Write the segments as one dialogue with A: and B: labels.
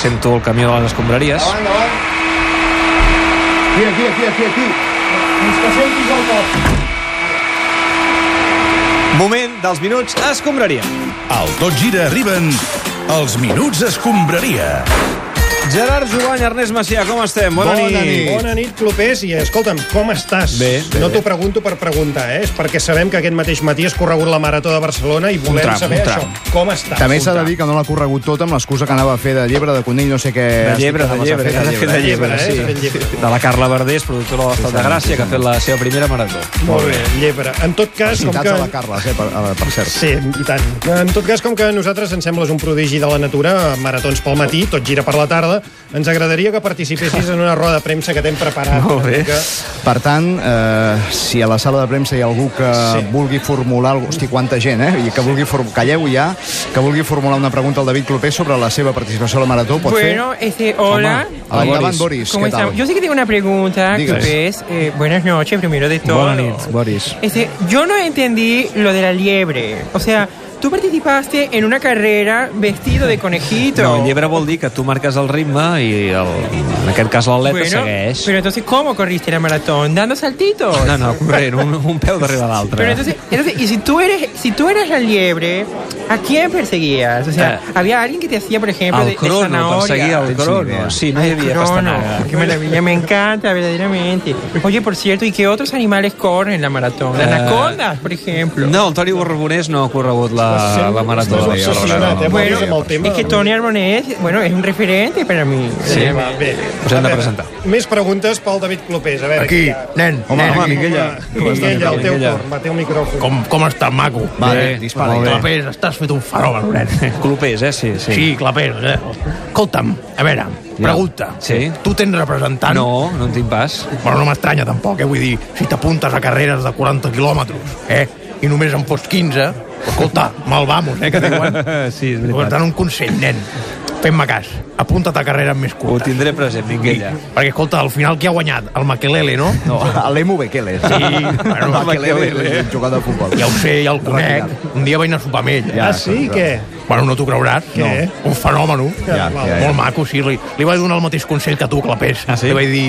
A: sento el camió de les escombraries.
B: Davant, davant. Aquí, aquí, aquí, aquí, aquí. Fins que sentis el cop.
A: Moment dels minuts escombraria.
C: Al Tot Gira arriben els Minuts Escombraria.
A: Gerard Jovany, Ernest Macià, com estem? Bona,
D: Bona
A: nit.
D: nit. Bona nit, clubers, i escolta'm, com estàs?
A: Bé, bé,
D: no
A: bé.
D: t'ho pregunto per preguntar, eh? És perquè sabem que aquest mateix matí has corregut la Marató de Barcelona i volem
A: tram,
D: saber
A: un tram.
D: això. Com estàs?
B: També s'ha de dir que no l'ha corregut tot amb l'excusa que anava a fer de llebre, de conill, no sé què...
A: De llebre, de llebre,
B: Has fet,
A: de llebre, de llebre,
D: eh? Has fet
A: sí.
D: llebre.
A: De la Carla Verdés, productora de l'Estat de Gràcia, que ha fet la seva primera marató.
D: Molt bé, llebre. En tot cas, com
B: Citats
D: que...
B: a la Carla, eh, per, a- per cert.
D: Sí, i tant. En tot cas, com que a nosaltres ens sembles un prodigi de la natura, maratons pel matí, tot gira per la tarda, ens agradaria que participessis en una roda de premsa que t'hem preparat.
A: Molt bé.
D: Que...
B: Per tant, eh, si a la sala de premsa hi ha algú que sí.
D: Sí.
B: vulgui formular... Hosti, quanta gent, eh? I que vulgui form... Calleu ja, que vulgui formular una pregunta al David Clopé sobre la seva participació a la Marató, pot
E: Bueno, este, hola.
B: fer? Home, endavant, Boris,
E: ¿Cómo
B: què
E: estamos?
B: tal?
E: Yo sí que tengo una pregunta,
B: Digas.
E: que es, eh, buenas noches, primero de todo.
A: Buenas noches.
B: Boris.
E: Este, yo no entendí lo de la liebre. O sea, tú participaste en una carrera vestido de conejito.
A: No, el llebre vol dir que tu marques el ritme i el, en aquest cas l'atleta
E: Bueno,
A: segueix.
E: pero entonces, ¿cómo corriste la maratón? ¿Dando saltitos?
A: No, no, corrent, un, un peu darrere l'altre.
E: Pero entonces, entonces, y si tú eres, si tú eras la liebre, ¿a quién perseguías? O sea,
A: Ah.
E: había alguien que te hacía, por ejemplo, de,
A: El
E: de
A: crono,
E: zanahoria.
A: perseguia
B: Tens
A: el
B: ni idea.
A: crono. Sí, no hi
E: Ay,
A: havia
E: crono,
A: pastanaga.
E: qué maravilla, me encanta verdaderamente. Oye, por cierto, ¿y qué otros animales corren en la maratón? Las
A: Eh,
E: anacondas, por ejemplo.
A: No, el Toni Borbonés no ha corregut la, la marató.
D: Estàs
A: d'ahir,
D: obsessionat, eh,
A: Albert.
D: Boris,
E: Bueno,
D: amb el tema.
E: es que Tony Arbonés, bueno, es un referente para mí.
D: Sí,
E: verdaderamente.
D: va, bé.
A: Us hem de
D: A veure,
A: presentar.
D: Més preguntes pel David Clopés. A veure,
F: Aquí, nen,
B: Home,
F: nen,
B: home,
F: aquí.
A: Miquella.
D: Home, Miquella, el teu
A: Miquella.
D: torn. Va, té un micròfon.
F: Com, com estàs, maco?
B: Vale,
F: Bé,
B: dispara.
F: molt bé.
B: Molt bé.
F: Clapés, estàs fet un fenomen, nen.
A: Clopés, eh? Sí, sí.
F: Sí, clapés, eh? Escolta'm, a veure, pregunta.
A: Sí.
F: Tu tens representant?
A: No, no en tinc pas.
F: Però no m'estranya, tampoc, eh? Vull dir, si t'apuntes a carreres de 40 quilòmetres, eh? I només en fos 15, escolta, mal vamos, eh? Que diuen.
A: Sí, és
F: Per
A: veritat.
F: tant, un consell, nen. Fem-me cas. Apunta't a carreres més
A: Ho
F: curtes.
A: tindré present, Minguella.
F: Perquè, escolta, al final qui ha guanyat? El Makelele, no?
B: No, l'Emu Bekele.
F: Sí, bueno,
B: el Bekele
F: Makelele.
B: és un jugador de futbol.
F: Ja ho sé, ja el conec.
B: Retirat.
F: Un dia vaig anar a sopar amb ell.
B: Ja.
D: Ah, sí? Què?
F: Bueno, no t'ho creuràs.
D: Què?
F: No. Un fenomen.
B: Ja, ja, ja.
F: Molt maco, sí. Li, li vaig donar el mateix consell que tu, Clapés.
A: Ah, sí?
F: Li vaig dir,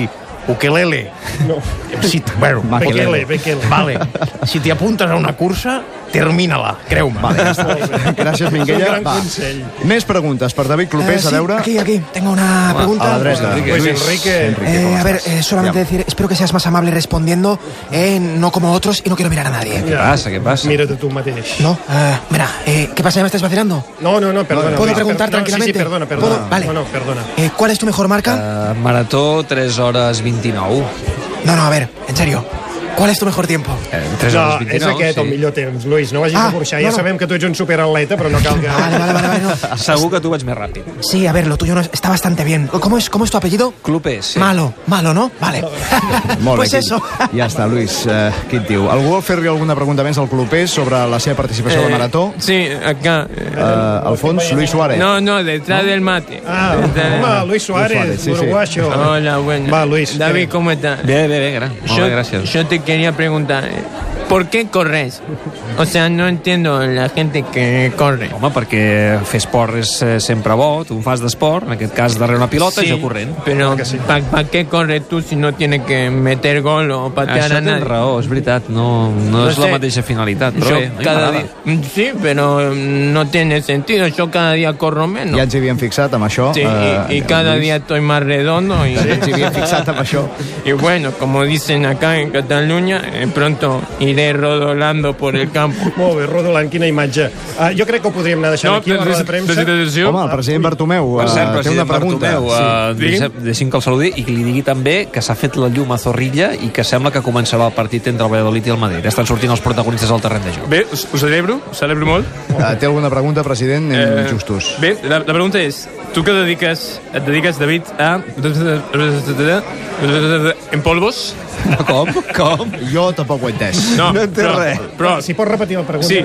F: ukelele.
D: No.
F: Si, t- bueno,
D: Bekele,
F: ukelele.
D: Bekele.
F: Vale. Si t'hi apuntes a una cursa, termina-la, creu-me.
B: Vale, ja està. Gràcies, Minguella.
D: És un gran
B: Va.
D: consell.
B: Més preguntes per David Clopés,
G: Eh, sí,
B: a veure...
G: Aquí, aquí. Tengo una
B: Ah, A
G: pregunta.
B: la dreta.
D: Pues
B: Luis
D: Enrique.
B: Enrique,
G: Eh,
B: com
G: a ver,
B: estàs?
G: eh, solamente
B: Ja.
G: decir, espero que seas más amable respondiendo, eh, no como otros y no quiero mirar a nadie.
A: Què passa, què passa?
D: Mira't a tu mateix.
G: No, eh, mira, eh, ¿qué pasa? ¿Me estás vacilando?
D: No, no, no, perdona.
G: ¿Puedo
D: Luis,
G: preguntar
D: per- no,
G: tranquilamente?
D: Sí, sí, perdona, perdona.
G: ¿Puedo? Vale.
D: No, no, perdona.
G: Eh, ¿Cuál es tu mejor marca?
A: Eh, marató, 3 hores 29.
G: No, no, a ver, en serio. ¿Cuál es tu mejor tiempo?
A: Eh, 3
D: No,
A: hores 29,
D: és aquest
A: sí.
D: el millor temps, Lluís. No vagis
G: Ah,
D: a burxar.
G: no,
D: Ja
G: no.
D: sabem que tu ets un superatleta, pero no cal que...
G: Vale, vale, vale, vale, no.
A: Segur que tu vaig més ràpid.
G: Sí, a ver, lo tuyo no es- está bastante bien. ¿Cómo es, cómo es tu apellido?
D: E,
A: Clopés, sí.
G: Malo, malo, ¿no? Vale.
B: Molt
G: pues
B: bé,
G: eso.
B: Quim. Ja està, Luis. Eh, què et diu? Algú vol fer-li alguna pregunta més al Clopés sobre la seva participació a la Marató?
E: Sí, acá.
B: Eh, Alfons, Luis Suárez.
E: Eh. no, detrás del mate.
D: Ah, home, Luis
B: Suárez,
D: Suárez,
B: sí, sí.
D: uruguayo.
E: Hola, bueno.
D: Va, Luis.
E: David, ¿cómo estás?
A: Bé, bé, bé, gra molt bé, gràcies.
E: yo te quería preguntar, eh, ¿por qué corres? O sea, no entiendo la gente que corre.
A: Home, perquè fer esport és eh, sempre bo, tu em fas d'esport, en aquest cas darrere una pilota
E: Sí,
A: i jo corrent.
E: Pero ¿para qué corres tú si no tienes que meter gol o patear
A: Això
E: a
A: tens
E: nadie?
A: raó, és veritat, no, no,
E: No
A: és la
E: sé.
A: mateixa finalitat, però
E: Yo
A: bé, a mi
E: cada
A: m'agrada.
E: día- Mm, sí, pero mm, no tiene sentido. Yo cada día corro menos.
B: Ja ens hi havíem fixat amb això.
E: Sí, y, y
B: eh,
E: cada
B: Lluís.
E: día estoy más redondo. Y,
B: Ja ens hi havíem fixat amb això.
E: y bueno, como dicen acá en Cataluña, eh, pronto iré rodolando por el campo.
D: Molt bé, Rodolant, quina imatge. Ah, jo crec que ho podríem anar deixant aquí, a la roda de premsa.
B: Home, el president Bartomeu
A: Per
B: eh,
A: cert,
B: té
A: president
B: una pregunta.
A: Bartomeu, eh, deixa, deixi'm que el saludi i que li digui també que s'ha fet la llum a Zorrilla i que sembla que començarà el partit entre el Valladolid i el Madrid. Estan sortint els protagonistes al terreny de joc.
H: Bé, us ho celebro, ho celebro molt.
B: Eh, té alguna pregunta, president? Anem
H: Eh,
B: justos.
H: Bé, la, la pregunta és, tu que dediques, et dediques, David, a... En polvos?
A: Com? Com?
B: Jo tampoc ho he entès.
H: No,
A: No entenc
H: però,
A: res.
H: Però,
D: Si pots repetir la pregunta.
H: sí,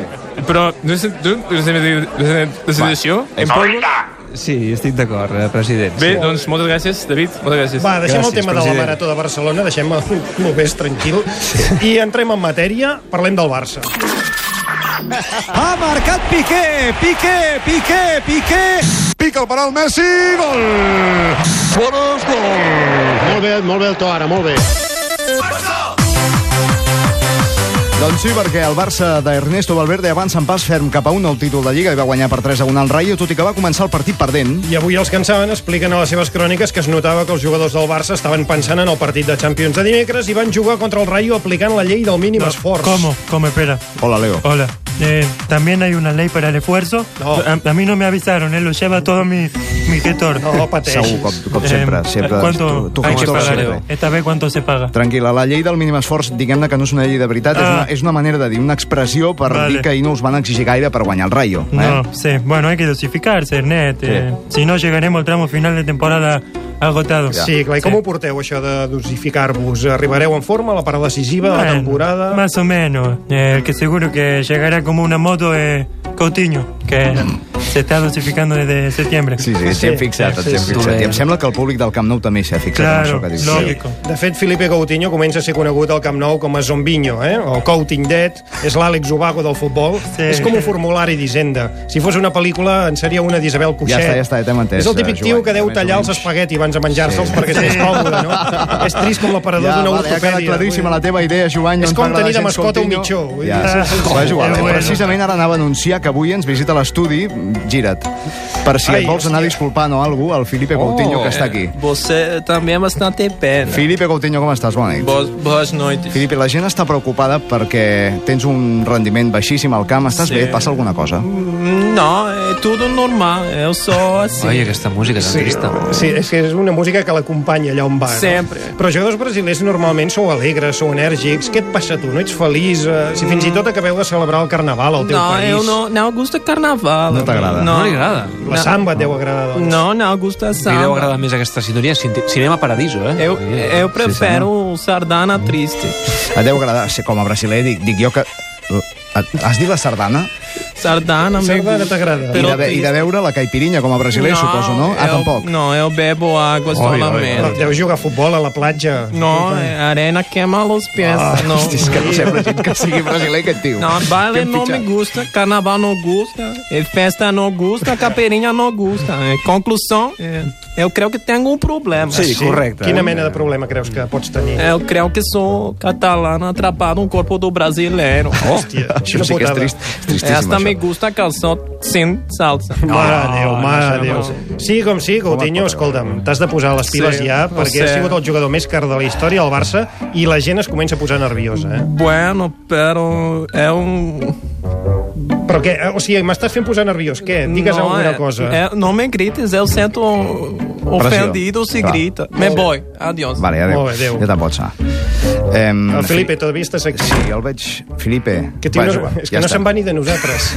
H: però... No sé, tu, no sé, no sé, no sé, no en polvos?
A: Sí, estic d'acord, eh, president.
H: Bé, doncs moltes gràcies, David, moltes gràcies.
D: Va, deixem
A: Gràcies,
D: el tema de
A: president.
D: la Marató de Barcelona, deixem-lo més tranquil. I entrem en matèria, parlem del Barça.
I: Ha marcat Piqué, Piqué, Piqué, Piqué. Pica el penal Messi, gol! Boros, gol!
J: Molt bé, molt bé el to ara, molt bé.
B: Doncs sí, perquè el Barça d'Ernesto Valverde avança en pas ferm cap a un al títol de Lliga i va guanyar per 3 a 1 al Rayo, tot i que va començar el partit perdent.
D: I avui els que en saben expliquen a les seves cròniques que es notava que els jugadors del Barça estaven pensant en el partit de Champions de dimecres i van jugar contra el Rayo aplicant la llei del mínim esforç.
K: ¿Cómo? ¿Cómo? Espera.
B: Hola, Leo.
K: Hola. Eh, También hay una ley para el esfuerzo. A, a mí no me avisaron, eh, lo lleva todo mi, mi gestor.
D: No,
B: Segur, com, com
K: Eh,
B: sempre. sempre
K: ¿Cuánto?
B: Tu, tu
K: hay
B: fas
K: que
B: tot
K: pagar?
B: sempre.
K: Esta vez, ¿cuánto se paga? Ah.
B: Tranquil·la, la llei del mínim esforç, diguem-ne que no és una llei de veritat, és, una, és una manera de dir, una expressió per
K: Vale.
B: dir que ahir no us van exigir gaire per guanyar el Rayo. Eh?
K: No, sí. Bueno, hay que dosificarse, Ernest. eh, si no, llegaremos al tramo final de temporada agotado.
D: Sí, clar, i com ho porteu, això de dosificar-vos? Arribareu en forma a la part decisiva de la
K: Bueno,
D: temporada?
K: Más o menos. Eh, el que seguro que llegará como una moto es Coutinho, que se está dosificando desde septiembre.
B: Mm. Sí, sí, ens hi hem fixat, ens hi hem fixat. I em sembla que el públic del Camp Nou també s'hi ha fixat en això que dius.
D: De fet, Felipe Coutinho comença a ser conegut al Camp Nou com a Zombinho, eh? o Coutinho Dead, és l'Àlex Ubago del futbol.
B: Sí.
D: És com un formulari d'Hisenda. Si fos una pel·lícula, en seria una d'Isabel Coixet.
B: està, ja està, ja t'hem entès,
D: És el típic
B: eh,
D: tio
B: Joan,
D: que deu
B: més o
D: tallar els
B: menys.
D: espagueti abans de menjar-se'ls
B: Sí.
D: perquè és més
B: Sí.
D: còmode, no? és trist com l'aparador
B: Ja,
D: d'una
B: vale, ha
D: ortopèdia.
B: quedat claríssima la teva idea, Joan. i
D: És
B: ens
D: com
B: m'agrada
D: tenir de
B: gens
D: mascota un
B: Coutinho.
D: mitjó, vull
B: Ja.
K: Ah,
D: dir.
B: Va, Joan,
D: Eh, bueno.
B: precisament ara anava a anunciar que avui ens visita l'estudi, gira't, per si
L: Ai,
B: et vols anar disculpant o alguna cosa al
D: Oh,
B: Felipe Coutinho,
L: Oh,
B: que
D: eh,
B: està aquí.
L: Você também é eh, bastante pena.
B: Felipe Coutinho, com estàs? Bona nit.
L: Boas, boas noites.
B: Filipe, la gent està preocupada perquè tens un rendiment baixíssim al camp. Estàs
L: Sí.
B: bé? Et passa alguna cosa?
L: Não, é tudo eh, normal. eh, Eu sou assim.
A: Ai, aquesta música tan sí. trista.
D: Sí, és que és una música que l'acompanya allà on va.
L: Sempre.
D: No? Però jugadors brasilers normalment sou alegres, sou enèrgics. Què et passa a tu? No ets feliç? Eh, Si fins i tot acabeu de celebrar el carnaval al teu
L: Não,
D: país.
L: eu não, é não gosto de carnaval.
B: tá
A: No t'agrada.
L: Não,
A: No li agrada.
D: La samba et deu agradar, doncs.
L: não, é não gosto de
A: Li deu
L: samba.
A: agradar més aquesta sintonia. Cinti- Cinema Paradiso, eh?
L: Eu,
B: É,
L: eu prefiro um sardana triste.
B: Et deu agradar? Sí, Com a brasiler dic, dic jo que... Et- Has dit la sardana?
L: Sardana, meu
B: Sardana tá
L: t'agrada.
B: I, de, ve- I de veure la caipirinha com a brasiler, suposo, no? Ah, tampoc.
L: Não, eu bebo água
D: Però
L: solamente.
D: Deu jugar a futbol a la platja.
L: Não, a arena queima os pés. não.
B: És Ah, que no sembla gent que sigui brasiler, aquest tio.
L: Não, baile
B: Que
L: não me
B: pitjor.
L: gusta, carnaval não gusta, e festa não gusta, caperinha não gusta. Eh, Conclusão, eh, eu creio que tenho um problema. É,
D: Quina mena de problema né? creus que pots tenir?
L: Eu creio que sou catalano atrapado no corpo do brasileiro.
D: Hòstia, això
B: sí que és trist, és tristíssim,
L: Esta
B: això.
L: me gusta canção sem salsa.
D: Mare de Déu, mare de Déu. Sí, com sí, Coutinho, escolta'm, t'has de posar les piles
L: Sí,
D: ja,
L: no
D: perquè
L: sé.
D: has sigut el jugador més car de la història del Barça i la gent es comença a posar nerviosa, eh?
L: Bueno, pero é um...
D: Però què? Eh, O sigui, m'estàs fent posar nerviós. Què? Digues
L: Não,
D: alguna
L: é-
D: cosa.
L: é- não eh, me grites, eu sinto ofendido se
B: Claro.
L: grita. Me voy, adiós.
B: Vale, adéu.
D: Molt bé, adéu.
B: Ja te'n pots anar. Em,
D: El Felipe, todavía estàs aquí.
B: Sí, el veig. Felipe,
D: Que tio,
B: va,
D: no,
B: Joan,
D: és que
B: ja
D: no
B: està.
D: se'n va ni de nosaltres.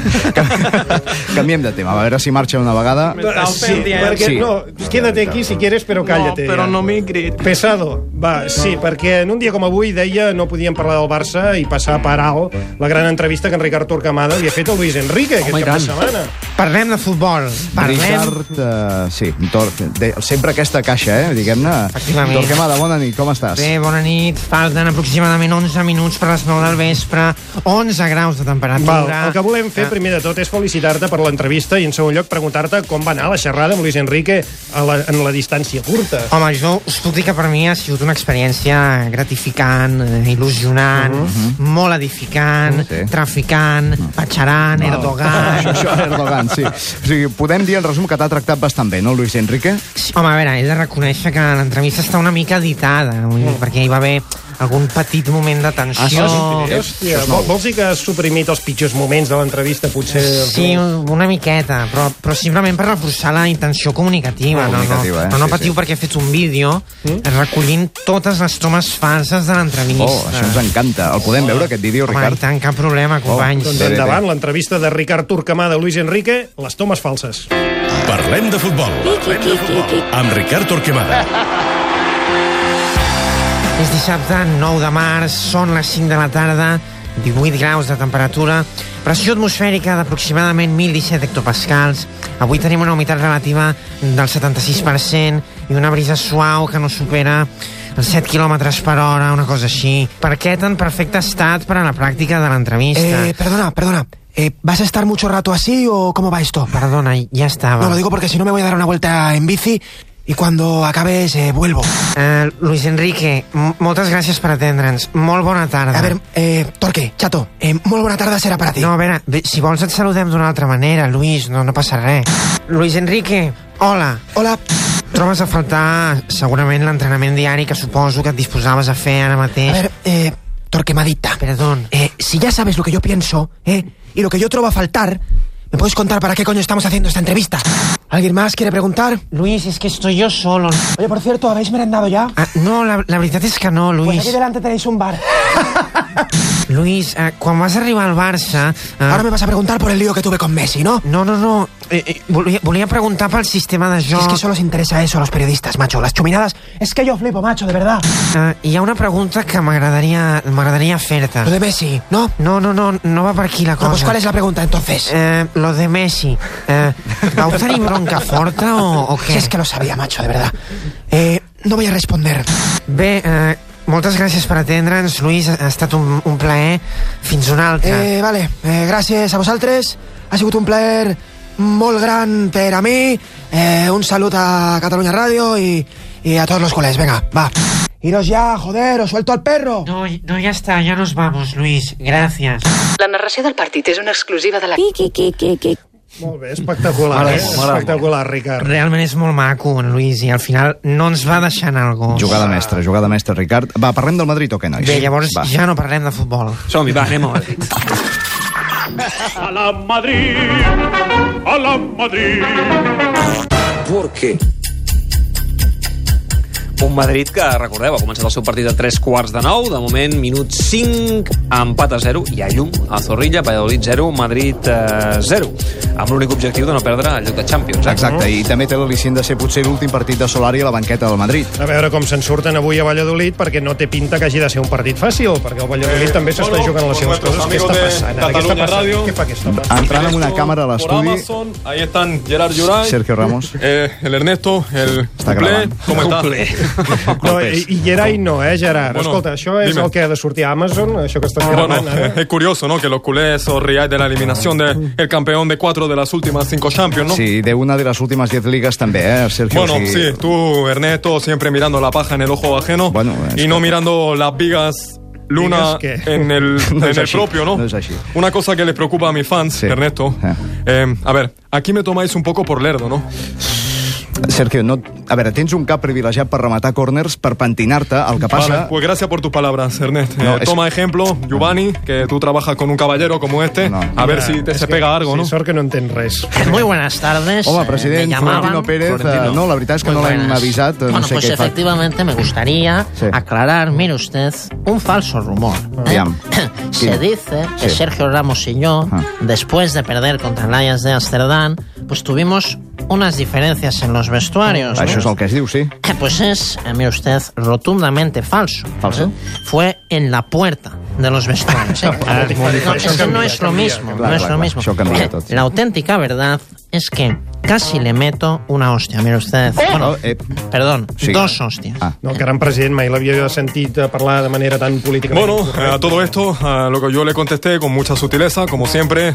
B: Canviem de tema, a veure si marxa una vegada.
D: Sí, perquè, no, quédate aquí si quieres, però cállate.
L: eh? No, pero
D: ja.
L: no me grites.
D: Pesado, va, sí, perquè en un dia com avui, deia, no podíem parlar del Barça i passar per alt la gran entrevista que en Ricard Torquemada li ha fet a Luis Enrique aquest cap de setmana.
G: Parlem de futbol. Parlem...
B: Richard, uh, sí, Tor, de, sempre aquesta caixa, eh, diguem-ne.
G: Efectivament.
B: Torquemada, bona nit, com estàs?
G: Bé, bona nit. Falten aproximadament 11 minuts per les 9 del vespre, 11 graus de
D: Val,
G: temperatura.
D: el que volem
G: Ah.
D: fer primer de tot és felicitar-te per l'entrevista i en segon lloc preguntar-te com va anar la xerrada amb Luis Enrique a la, en la distància curta.
G: Home, jo us puc dir que per mi ha sigut una experiència gratificant, eh, il·lusionant,
B: Uh-huh.
G: molt edificant, traficant, patxarant, Erdogan...
B: Ah, Això, això, Erdogan, sí. O sigui, podem dir en resum que t'ha tractat bastant bé, no, Luis Enrique?
G: Sí, Home, a veure, he de reconèixer que l'entrevista està una mica editada, vull
B: Mm.
G: dir, perquè hi va haver algun petit moment
B: Ah,
G: de tensió...
D: Hòstia, vol, vols dir que has suprimit els pitjors moments de l'entrevista, potser?
G: Sí, una miqueta, però, però simplement per reforçar la intenció comunicativa. No, no,
B: Comunicativa, eh?
G: no, no
B: Sí,
G: patiu
B: sí.
G: perquè he fet un vídeo recollint totes les tomes falses de l'entrevista.
B: Oh, això ens Oh, encanta. El podem veure, aquest vídeo,
G: Home, i
B: Ricard?
G: tant, cap problema, companys.
D: Doncs
B: Bé, bé, bé.
D: endavant, l'entrevista de Ricard Torquemada a Luis Enrique, les tomes falses.
C: Parlem de futbol. Parlem de futbol. Amb Ricard Torquemada.
G: És dissabte, 9 de març, són les 5 de la tarda, 18 graus de temperatura, pressió atmosfèrica d'aproximadament 1.017 hectopascals, avui tenim una humitat relativa del 76% i una brisa suau que no supera els 7 km per hora, una cosa així. Per què tan perfecte estat per a la pràctica de l'entrevista?
K: Eh,
G: perdona, perdona.
M: Eh, ¿Vas a estar mucho rato así o cómo va esto?
G: Perdona, ya estaba.
M: No, lo digo porque si no me voy a dar una vuelta en bici i quan acabes eh, vuelvo.
G: Eh, Luis Enrique, m- moltes gràcies per atendre'ns. Molt bona tarda.
M: A veure, eh, Torque, Chato, eh, molt bona tarda serà per a ti.
G: No, a veure, bé, si vols et saludem d'una altra manera, Luis, no, no passa res. Luis Enrique, hola.
M: Hola.
G: Trobes a faltar segurament l'entrenament diari que suposo que et disposaves a fer ara mateix.
M: A ver, eh, Torquemadita.
G: Perdón.
M: Eh, si ya sabes lo que yo pienso, ¿eh? Y lo que yo trobo a faltar, ¿me puedes contar para qué coño estamos haciendo esta entrevista? ¿Alguien más quiere preguntar?
G: Luis, es que estoy yo solo.
M: Oye, por cierto, ¿habéis merendado ya?
G: Ah, no, la, la veritat és que no,
M: Pues
G: Luis.
M: aquí delante tenéis un bar.
G: Luis, eh, quan vas arribar al Barça... Eh,
M: Ahora me vas a preguntar por el lío que tuve con Messi, ¿no?
G: No, no, no. Eh, eh, volia, volia preguntar pel sistema de
M: Si
G: joc.
M: Es que solo os interesa eso a los periodistas, macho. Las chuminadas. Es que yo flipo, macho, de verdad.
G: Eh, hi ha una pregunta que m'agradaria m'agradaria fer-te.
M: Lo de Messi, ¿no?
G: No, no, no, no va per aquí la cosa.
M: No, pues ¿cuál es la pregunta entonces?
G: Eh, lo de Messi. Eh, vau tenir bronca forta o, o
M: Si
G: què?
M: es que lo sabía, macho, de verdad. Eh, no voy a responder.
G: Bé, eh, moltes gràcies per atendre'ns, Luis. Ha estat un, un plaer. Fins una altra.
M: Eh, vale, eh, gràcies a vosaltres. Ha sigut un plaer molt gran per a mi. Eh, un salut a Catalunya Ràdio i, i a tots los culers. Venga, va. Iros ya, joder, os suelto al perro.
G: No, no, ya está, ya nos vamos, Luis. Gracias.
N: La narració del partit és una exclusiva de la...
D: Molt bé, espectacular,
G: M'agrada
D: eh?
G: molt, m'agrada molt.
D: Espectacular, Ricard.
G: Realment és molt maco, en Luis, i al final no ens va deixar anar el gos.
B: Jugada mestra, jugada mestra, Ricard. Va, parlem del Madrid o què, nois?
G: Bé, llavors
B: Va.
G: ja no parlem de futbol.
A: Som-hi, va, anem a Madrid.
I: A la Madrid, a la Madrid.
A: ¿Por qué? Un Madrid que, recordeu, ha començat el seu partit a 3 quarts de 9, de moment minut 5, empat a 0, i a llum, a Zorrilla, Valladolid 0, Madrid eh, 0, amb l'únic objectiu de no perdre el lloc de Champions. Eh?
B: Exacte, i també té l'al·licient de ser potser l'últim partit de Solari a la banqueta del Madrid.
D: A veure com se'n surten avui a Valladolid, perquè no té pinta que hagi de ser un partit fàcil, perquè el
H: Eh,
D: Valladolid també s'està jugant les seves coses. Què està passant? ara? Què està
H: Catalunya
D: passant?
H: Radio.
D: Què fa aquesta
B: Entrant amb una càmera a
H: Por
B: l'estudi,
H: Amazon, ahí están Gerard Llorán,
B: Sergio Ramos.
H: eh, el Ernesto, el Cuplé.
B: grabant.
H: ¿Cómo estás?
D: No, i, I Gerai no, eh, Gerard?
H: Bueno,
D: Escolta, això és
H: dime.
D: el que ha de sortir a Amazon, això que estàs
H: Bueno,
D: gravant ara.
H: eh, es curioso, ¿no? Que los culés os riáis de la eliminación del campeón de cuatro de las últimas cinco Champions, ¿no?
B: Sí, de una de les últimes 10 lligues també, eh, Sergio?
H: Bueno,
B: o
H: sí.
B: sigui,
H: tú, Ernesto, siempre mirando la paja en el ojo ajeno y no mirando las vigas luna
B: ¿Vigas qué?
H: en el,
B: No es
H: en el
B: así,
H: propio, ¿no?
B: no es así. Ah.
H: Una cosa que les preocupa a mis fans, Ernesto. Eh, a ver, aquí me tomáis un poco por lerdo, ¿no?
B: Sergio, no... a veure, tens un cap privilegiat per rematar corners, per pentinar-te, el que passa...
H: Vale, pues gracias por tus palabras, Ernest.
B: No,
H: Eh,
B: es-
H: Toma ejemplo, Giovanni, que tú trabajas con un caballero como este, a ver si te
D: És
H: se
D: que-
H: pega algo, ¿no?
D: Sí, sort que no entén res.
O: Eh, Muy buenas tardes.
B: Home,
O: eh,
B: president,
O: me llamaban.
B: Florentino Pérez, eh, no, la veritat és que
O: Muy
B: no l'hem
O: buenas.
B: avisat, eh, no
O: Bueno,
B: sé
O: pues
B: què hi fa.
O: efectivamente me gustaría aclarar, mire usted, un falso rumor. ¿eh?
B: Aviam.
O: Se
B: Sí.
O: dice que
B: Sí. Ah.
O: Sergio Ramos y yo, después de perder contra el Ajax de Amsterdam, pues tuvimos unas diferencias en los vestuarios. ¿no?
B: Això és el que Ah, es diu, sí.
O: Eh, Pues es, eh, mire usted, rotundamente falso.
B: ¿Falso?
O: Fue en la puerta de los vestuarios. ¿eh?
B: Ah, es muy
O: No,
B: diferente.
O: es que no
B: Cambia,
O: es lo
B: cambia,
O: mismo.
B: claro,
O: no es
B: claro,
O: lo mismo.
B: yo cambia todo.
O: La auténtica verdad es que casi le meto una hostia, mire usted.
B: Oh.
O: Bueno, perdón, dos hostias.
D: eh, No, el gran president mai l'havia sentit eh, parlar de manera tan políticament
H: Bueno, eh,
D: correcta.
H: a todo esto, a lo que yo le contesté con mucha sutileza, como siempre,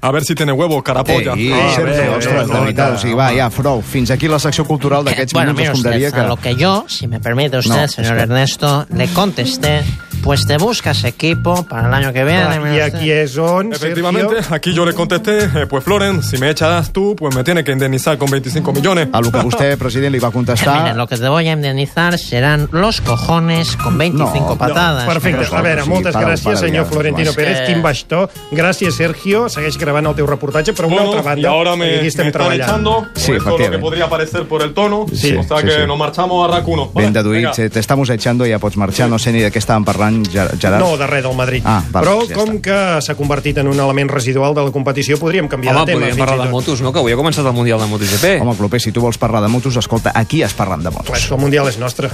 H: a ver si tiene huevos, carapolla.
B: Ei,
H: Ah,
B: Sergio,
H: bé,
B: ostres,
H: bé,
B: de veritat,
H: no,
B: o sigui, va, ja, prou. Fins aquí la secció cultural d'aquests
O: Bueno,
B: minuts
O: mire
B: escombraria
O: usted, a
B: que...
O: lo que yo, si me permite usted,
B: No,
O: señor
B: espera.
O: Ernesto, le contesté, pues te buscas equipo para el año que viene. mire
D: I
O: usted.
D: aquí és on,
H: Efectivamente,
D: Sergio...
H: aquí yo le contesté, eh, pues Floren, si me echas tú, pues me tiene que indemnizar con 25 millones.
B: A lo que vostè, president, li va
O: Mira,
D: Pues
B: contestar...
O: lo que te voy a indemnizar serán los cojones con 25 patadas.
D: Perfecte. A veure, moltes gràcies, senyor Florentino
O: Eh.
D: Pérez. Quin bastó. Gràcies, Sergio. Segueix gravant el teu reportatge, però una
H: Bueno,
D: altra
H: y
D: banda...
H: ahora
D: li
H: me,
D: digui,
H: me
D: estem
H: están
D: treballant.
H: echando,
B: Sí,
H: por eso lo que
B: efectivamente.
H: podría parecer por el tono,
B: Sí,
H: o sea
B: sí,
H: que
B: sí.
H: nos marchamos a Racuno.
B: Ben deduït, eh, t'estamos echando, ja pots marxar, no sé ni de què estàvem parlant, Ger- Gerard.
D: No, de res del Madrid.
B: Ah, val,
D: Però
B: ja
D: com que s'ha convertit en un element residual de la competició, podríem canviar
A: Home,
D: de tema.
A: podríem
D: fins
A: parlar
D: i
A: de
D: tot.
A: motos, no?, que avui ha començat el Mundial de MotoGP.
B: Home, Clopé, si tu vols parlar de motos, escolta, aquí es parlen de motos.
D: Clar, és que el Mundial és nostre.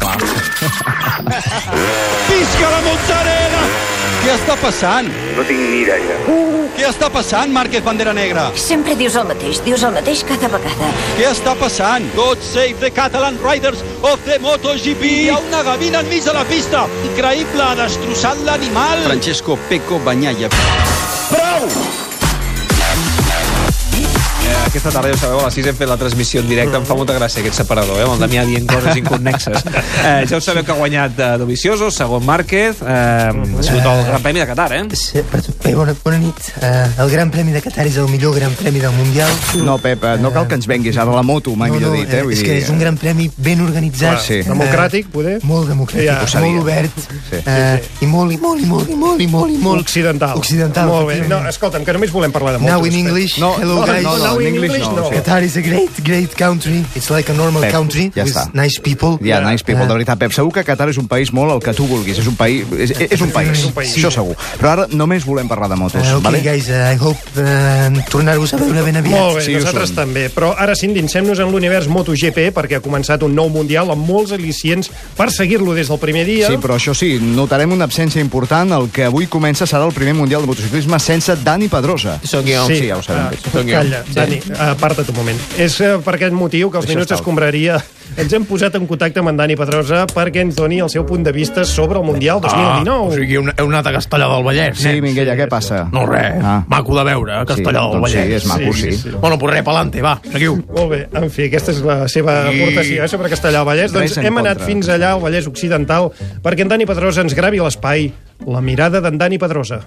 I: Pisca la Montarena! Què està passant?
P: No tinc ni idea.
I: Uh, què està passant, Márquez Bandera Negra?
Q: Sempre dius el mateix, dius el mateix cada vegada.
I: Què està passant? God save the Catalan Riders of the MotoGP! Hi ha una gavina enmig de la pista! Increïble, ha destrossat l'animal! Francesco Pecco Banyalla. Prou!
A: aquesta tarda, ja ho sabeu, a les 6 hem fet la transmissió en directe. Em fa molta gràcia aquest separador, eh? amb el Damià dient coses inconnexes. Eh, ja ho sabeu que ha guanyat eh, Dovizioso, segon Márquez. Eh, ha sigut el Gran Premi de Qatar, eh?
G: Sí, Bé, bona, bona nit. Uh, el Gran Premi de Qatar és el millor Gran Premi del Mundial.
B: No, Pep, eh, no cal que ens venguis ara la moto, mai millor dit, eh?
G: és que és un gran premi ben organitzat.
B: Clar, sí.
G: eh,
B: Democràtic,
D: poder?
G: Molt democràtic,
B: Ja. Ho
G: ja,
B: sabia.
G: molt obert.
B: Sí.
G: Eh, I molt, i molt, i molt, i molt, i molt, i molt... Occidental. Occidental,
D: Molt bé. No, eh,
G: efectivament.
D: escolta'm, que només volem parlar de motos. eh?
G: Now in English,
D: No,
G: hello
D: no,
G: guys.
D: No, no, in English no.
G: Qatar is a great, great country. It's like a normal
B: Pep,
G: country
B: ja
G: with
B: està.
G: nice people. Uh,
B: Ja, yeah, nice people, de veritat, Pep. Segur que Qatar és un país molt el que tu vulguis. És un país, és, és un país,
G: És un país.
B: això segur. Però ara només volem parlar de motos,
F: Ah,
G: Eh, ok,
B: vale?
G: guys, eh, I hope eh, tornar-vos a veure ben aviat.
D: Molt bé, sí, nosaltres també. Però ara sí, endinsem-nos en l'univers MotoGP, perquè ha començat un nou Mundial amb molts al·licients per seguir-lo des del primer dia.
B: Sí, però això sí, notarem una absència important. El que avui comença serà el primer Mundial de Motociclisme sense Dani Pedrosa. Sí, ja ho sabem.
D: Ah, Calla, sí. Dani, ah, aparta't un moment. És eh, per aquest motiu que els
B: Deixa
D: Deixa minuts
B: estar.
D: escombraria. Ens hem posat en contacte amb en Dani Pedrosa perquè ens doni el seu punt de vista sobre el Mundial 2019.
R: Ah, o sigui, heu heu anat a Castellà del Vallès,
B: Sí,
R: nens.
B: Minguella, què passa?
R: No, res.
B: Ah.
R: Maco de veure, eh, Castellà
B: Sí,
R: del
B: doncs sí,
R: Vallès.
B: és maco, sí.
R: Bueno, pues res, pelante, va, seguiu.
D: Molt bé,
B: Ah.
D: en fi, aquesta és la seva
R: I-
D: aportació eh, sobre Castellà del Vallès.
R: Res
D: Doncs
R: en
D: hem anat
R: contra.
D: fins allà, al Vallès Occidental, perquè en Dani Pedrosa ens gravi a l'espai la mirada d'en Dani Pedrosa.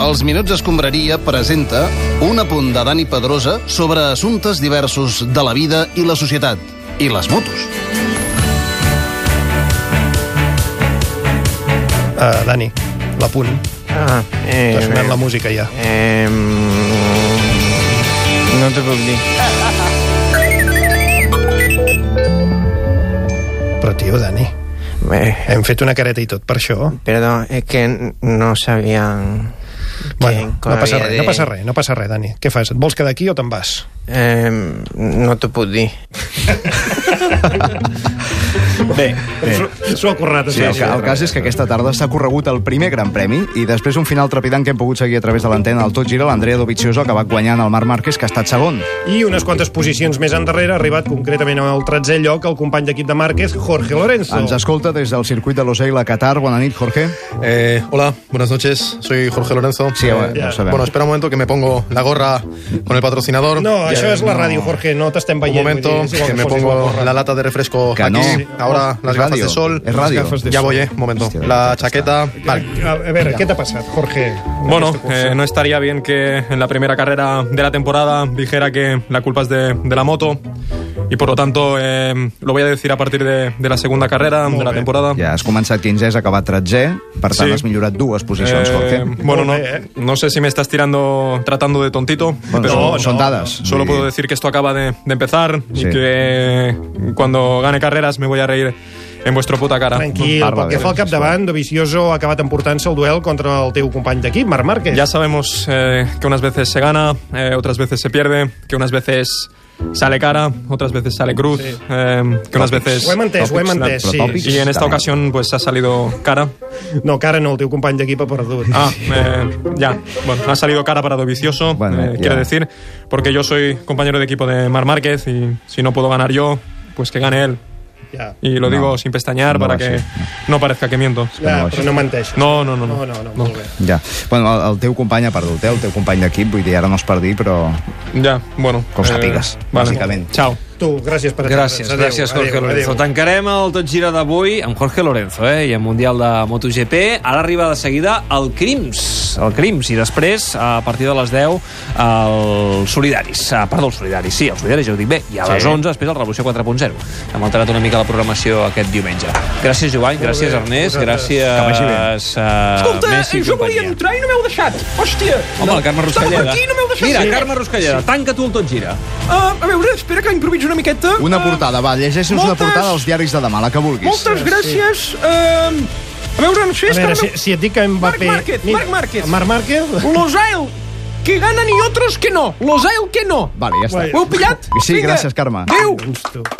S: Els Minuts Escombraria presenta un apunt de Dani Pedrosa sobre assumptes diversos de la vida i la societat, i les motos.
D: Uh, Dani, l'apunt.
L: Ah, eh,
D: T'ha sonat
L: bé.
D: la música ja.
L: Eh, no te puc dir.
D: Però, tio, Dani,
L: Bé,
D: hem fet una careta i tot per això.
L: perdó, es que n- no sabían...
D: Bueno,
L: que
D: no passa
L: havia
D: res,
L: de-
D: no passa res, no passa res, Dani. Què fas? Et vols quedar aquí o te'n vas?
L: Eh, no t'ho puc dir.
D: Bé, s'ho ha currat.
B: Sí, el, ca- el cas és que aquesta tarda s'ha corregut el primer Gran Premi i després un final trepidant que hem pogut seguir a través de l'antena del Tot Gira, l'Andrea Dovizioso ha acabat guanyant el Marc Márquez, que ha estat segon.
D: I unes quantes posicions més endarrere ha arribat concretament al 13è lloc el company d'equip de Márquez, Jorge Lorenzo.
B: Ens escolta des del circuit de Losail a Qatar. Bona nit, Jorge.
F: Eh, hola, buenas noches. Soy Jorge Lorenzo.
B: Sí, bueno,
F: Eh,
B: lo sabemos.
F: bueno, espera un momento que me pongo la gorra con el patrocinador.
D: No,
F: Ya,
D: això és la
F: no.
D: ràdio, Jorge, no t'estem
F: Un
D: veient.
F: momento,
D: vull dir, és igual
F: que me
D: posis
F: pongo
D: gorra.
F: la lata de refresco
D: Que
F: aquí.
D: no.
F: Ahora
D: Sí.
F: las
D: Es
F: gafas
D: radio,
F: de sol.
D: es radio.
F: Las gafas de ya
D: sol.
F: voy, eh. Un momento. la chaqueta. Vale.
D: A a veure, què t'ha passat, Jorge?
T: Bueno,
B: pues,
T: eh, no estaría bien que en la primera carrera de la temporada dijera que la culpa es de, de la moto y por lo tanto eh, lo voy a decir a partir de, de la segunda carrera de la temporada.
B: Ja has començat 15, has acabat 13, per tant
T: Sí.
B: sí. has millorat dues posicions,
T: Eh,
B: Jorge.
T: bueno, no, no sé si me estás tirando, tratando de tontito.
B: Bueno,
T: pero
B: son- son dadas.
T: Solo puedo decir que esto acaba de, de empezar
B: Sí.
T: y que cuando gane carreras me voy a reír en vuestro puta cara.
D: Tranquil, pel que fa al capdavant, Dovizioso ha acabat emportant-se el duel contra el teu company d'equip, Marc Márquez.
T: Ya sabemos eh, que unas veces se gana, eh, otras veces se pierde, que unas veces sale cara, otras veces sale cruz, eh, que
D: Topics.
T: unas veces...
D: Ho hem entès, ho hem entès, sí. Topics.
T: Y en esta
D: També.
T: ocasión pues ha salido cara.
D: No, que ara no, el teu company d'equip ha perdut.
T: Ah, eh, ya. Bueno, ha salido cara para Dovicioso, eh, quiero decir, porque yo soy compañero de equipo de Mar Márquez y si no puedo ganar yo, pues que gane él.
D: Ya.
T: Y lo
D: No.
T: digo sin pestañear
B: No
T: para
B: va
T: que
B: així.
T: no parezca que miento.
B: Ja, però no
D: menteixes.
T: No, no, no. no.
D: no, no, molt bé.
B: Ja. Bueno, el, el teu company ha perdut, eh? el teu company d'equip, vull dir, ara no es per dir, però...
T: Ja, bueno. eh,
B: Com sàpigues,
T: vale.
B: bàsicament.
T: Ciao.
D: Tu, gràcies per
A: Gràcies,
D: atendre'ns. Adéu,
A: gràcies, Jorge
D: adéu,
A: Lorenzo.
D: adéu.
A: Tancarem el Tot Gira d'avui amb Jorge Lorenzo, eh? I amb Mundial de MotoGP. Ara arriba de seguida el Crims. El Crims. I després, a partir de les 10, els Solidaris. Ah, perdó, els Solidaris. Sí, els Solidaris, ja ho dic bé. I a les
E: Sí.
A: 11, després, el Revolució 4.0. Hem alterat una mica la programació aquest diumenge. Gràcies, Joan. Gràcies, Ernest. Gràcies,
E: Que vagi bé.
A: eh,
E: Escolta,
A: Messi i
E: jo volia
A: companyia.
E: entrar é i no m'heu deixat. Hòstia.
A: Home, el Carme
E: Estava
A: Ruscalleda.
E: per aquí i no m'heu deixat.
A: Mira,
E: Sí.
A: Carme Ruscalleda, tanca tu el Tot Gira.
E: Ah, a veure, espera que improviso una miqueta.
B: Una
E: Ah,
B: portada, va, llegeixi'ns una
E: moltes-
B: portada als diaris de demà, la que vulguis.
E: Moltes gràcies.
L: ah,
E: Eh, a veure, no sé,
D: A
E: és
D: veure,
E: que...
D: si, si et dic que em
E: Marc
D: Mbappé...
E: Márquez,
D: Mira,
E: Marc Márquez.
D: Marc Márquez...
E: Los Ail, que ganan y otros que no. Los Ail que no.
B: Vale, ja està.
E: Ho heu pillat?
B: Sí,
E: Vinga.
B: gràcies, Carme.
E: Adéu.
D: Adéu.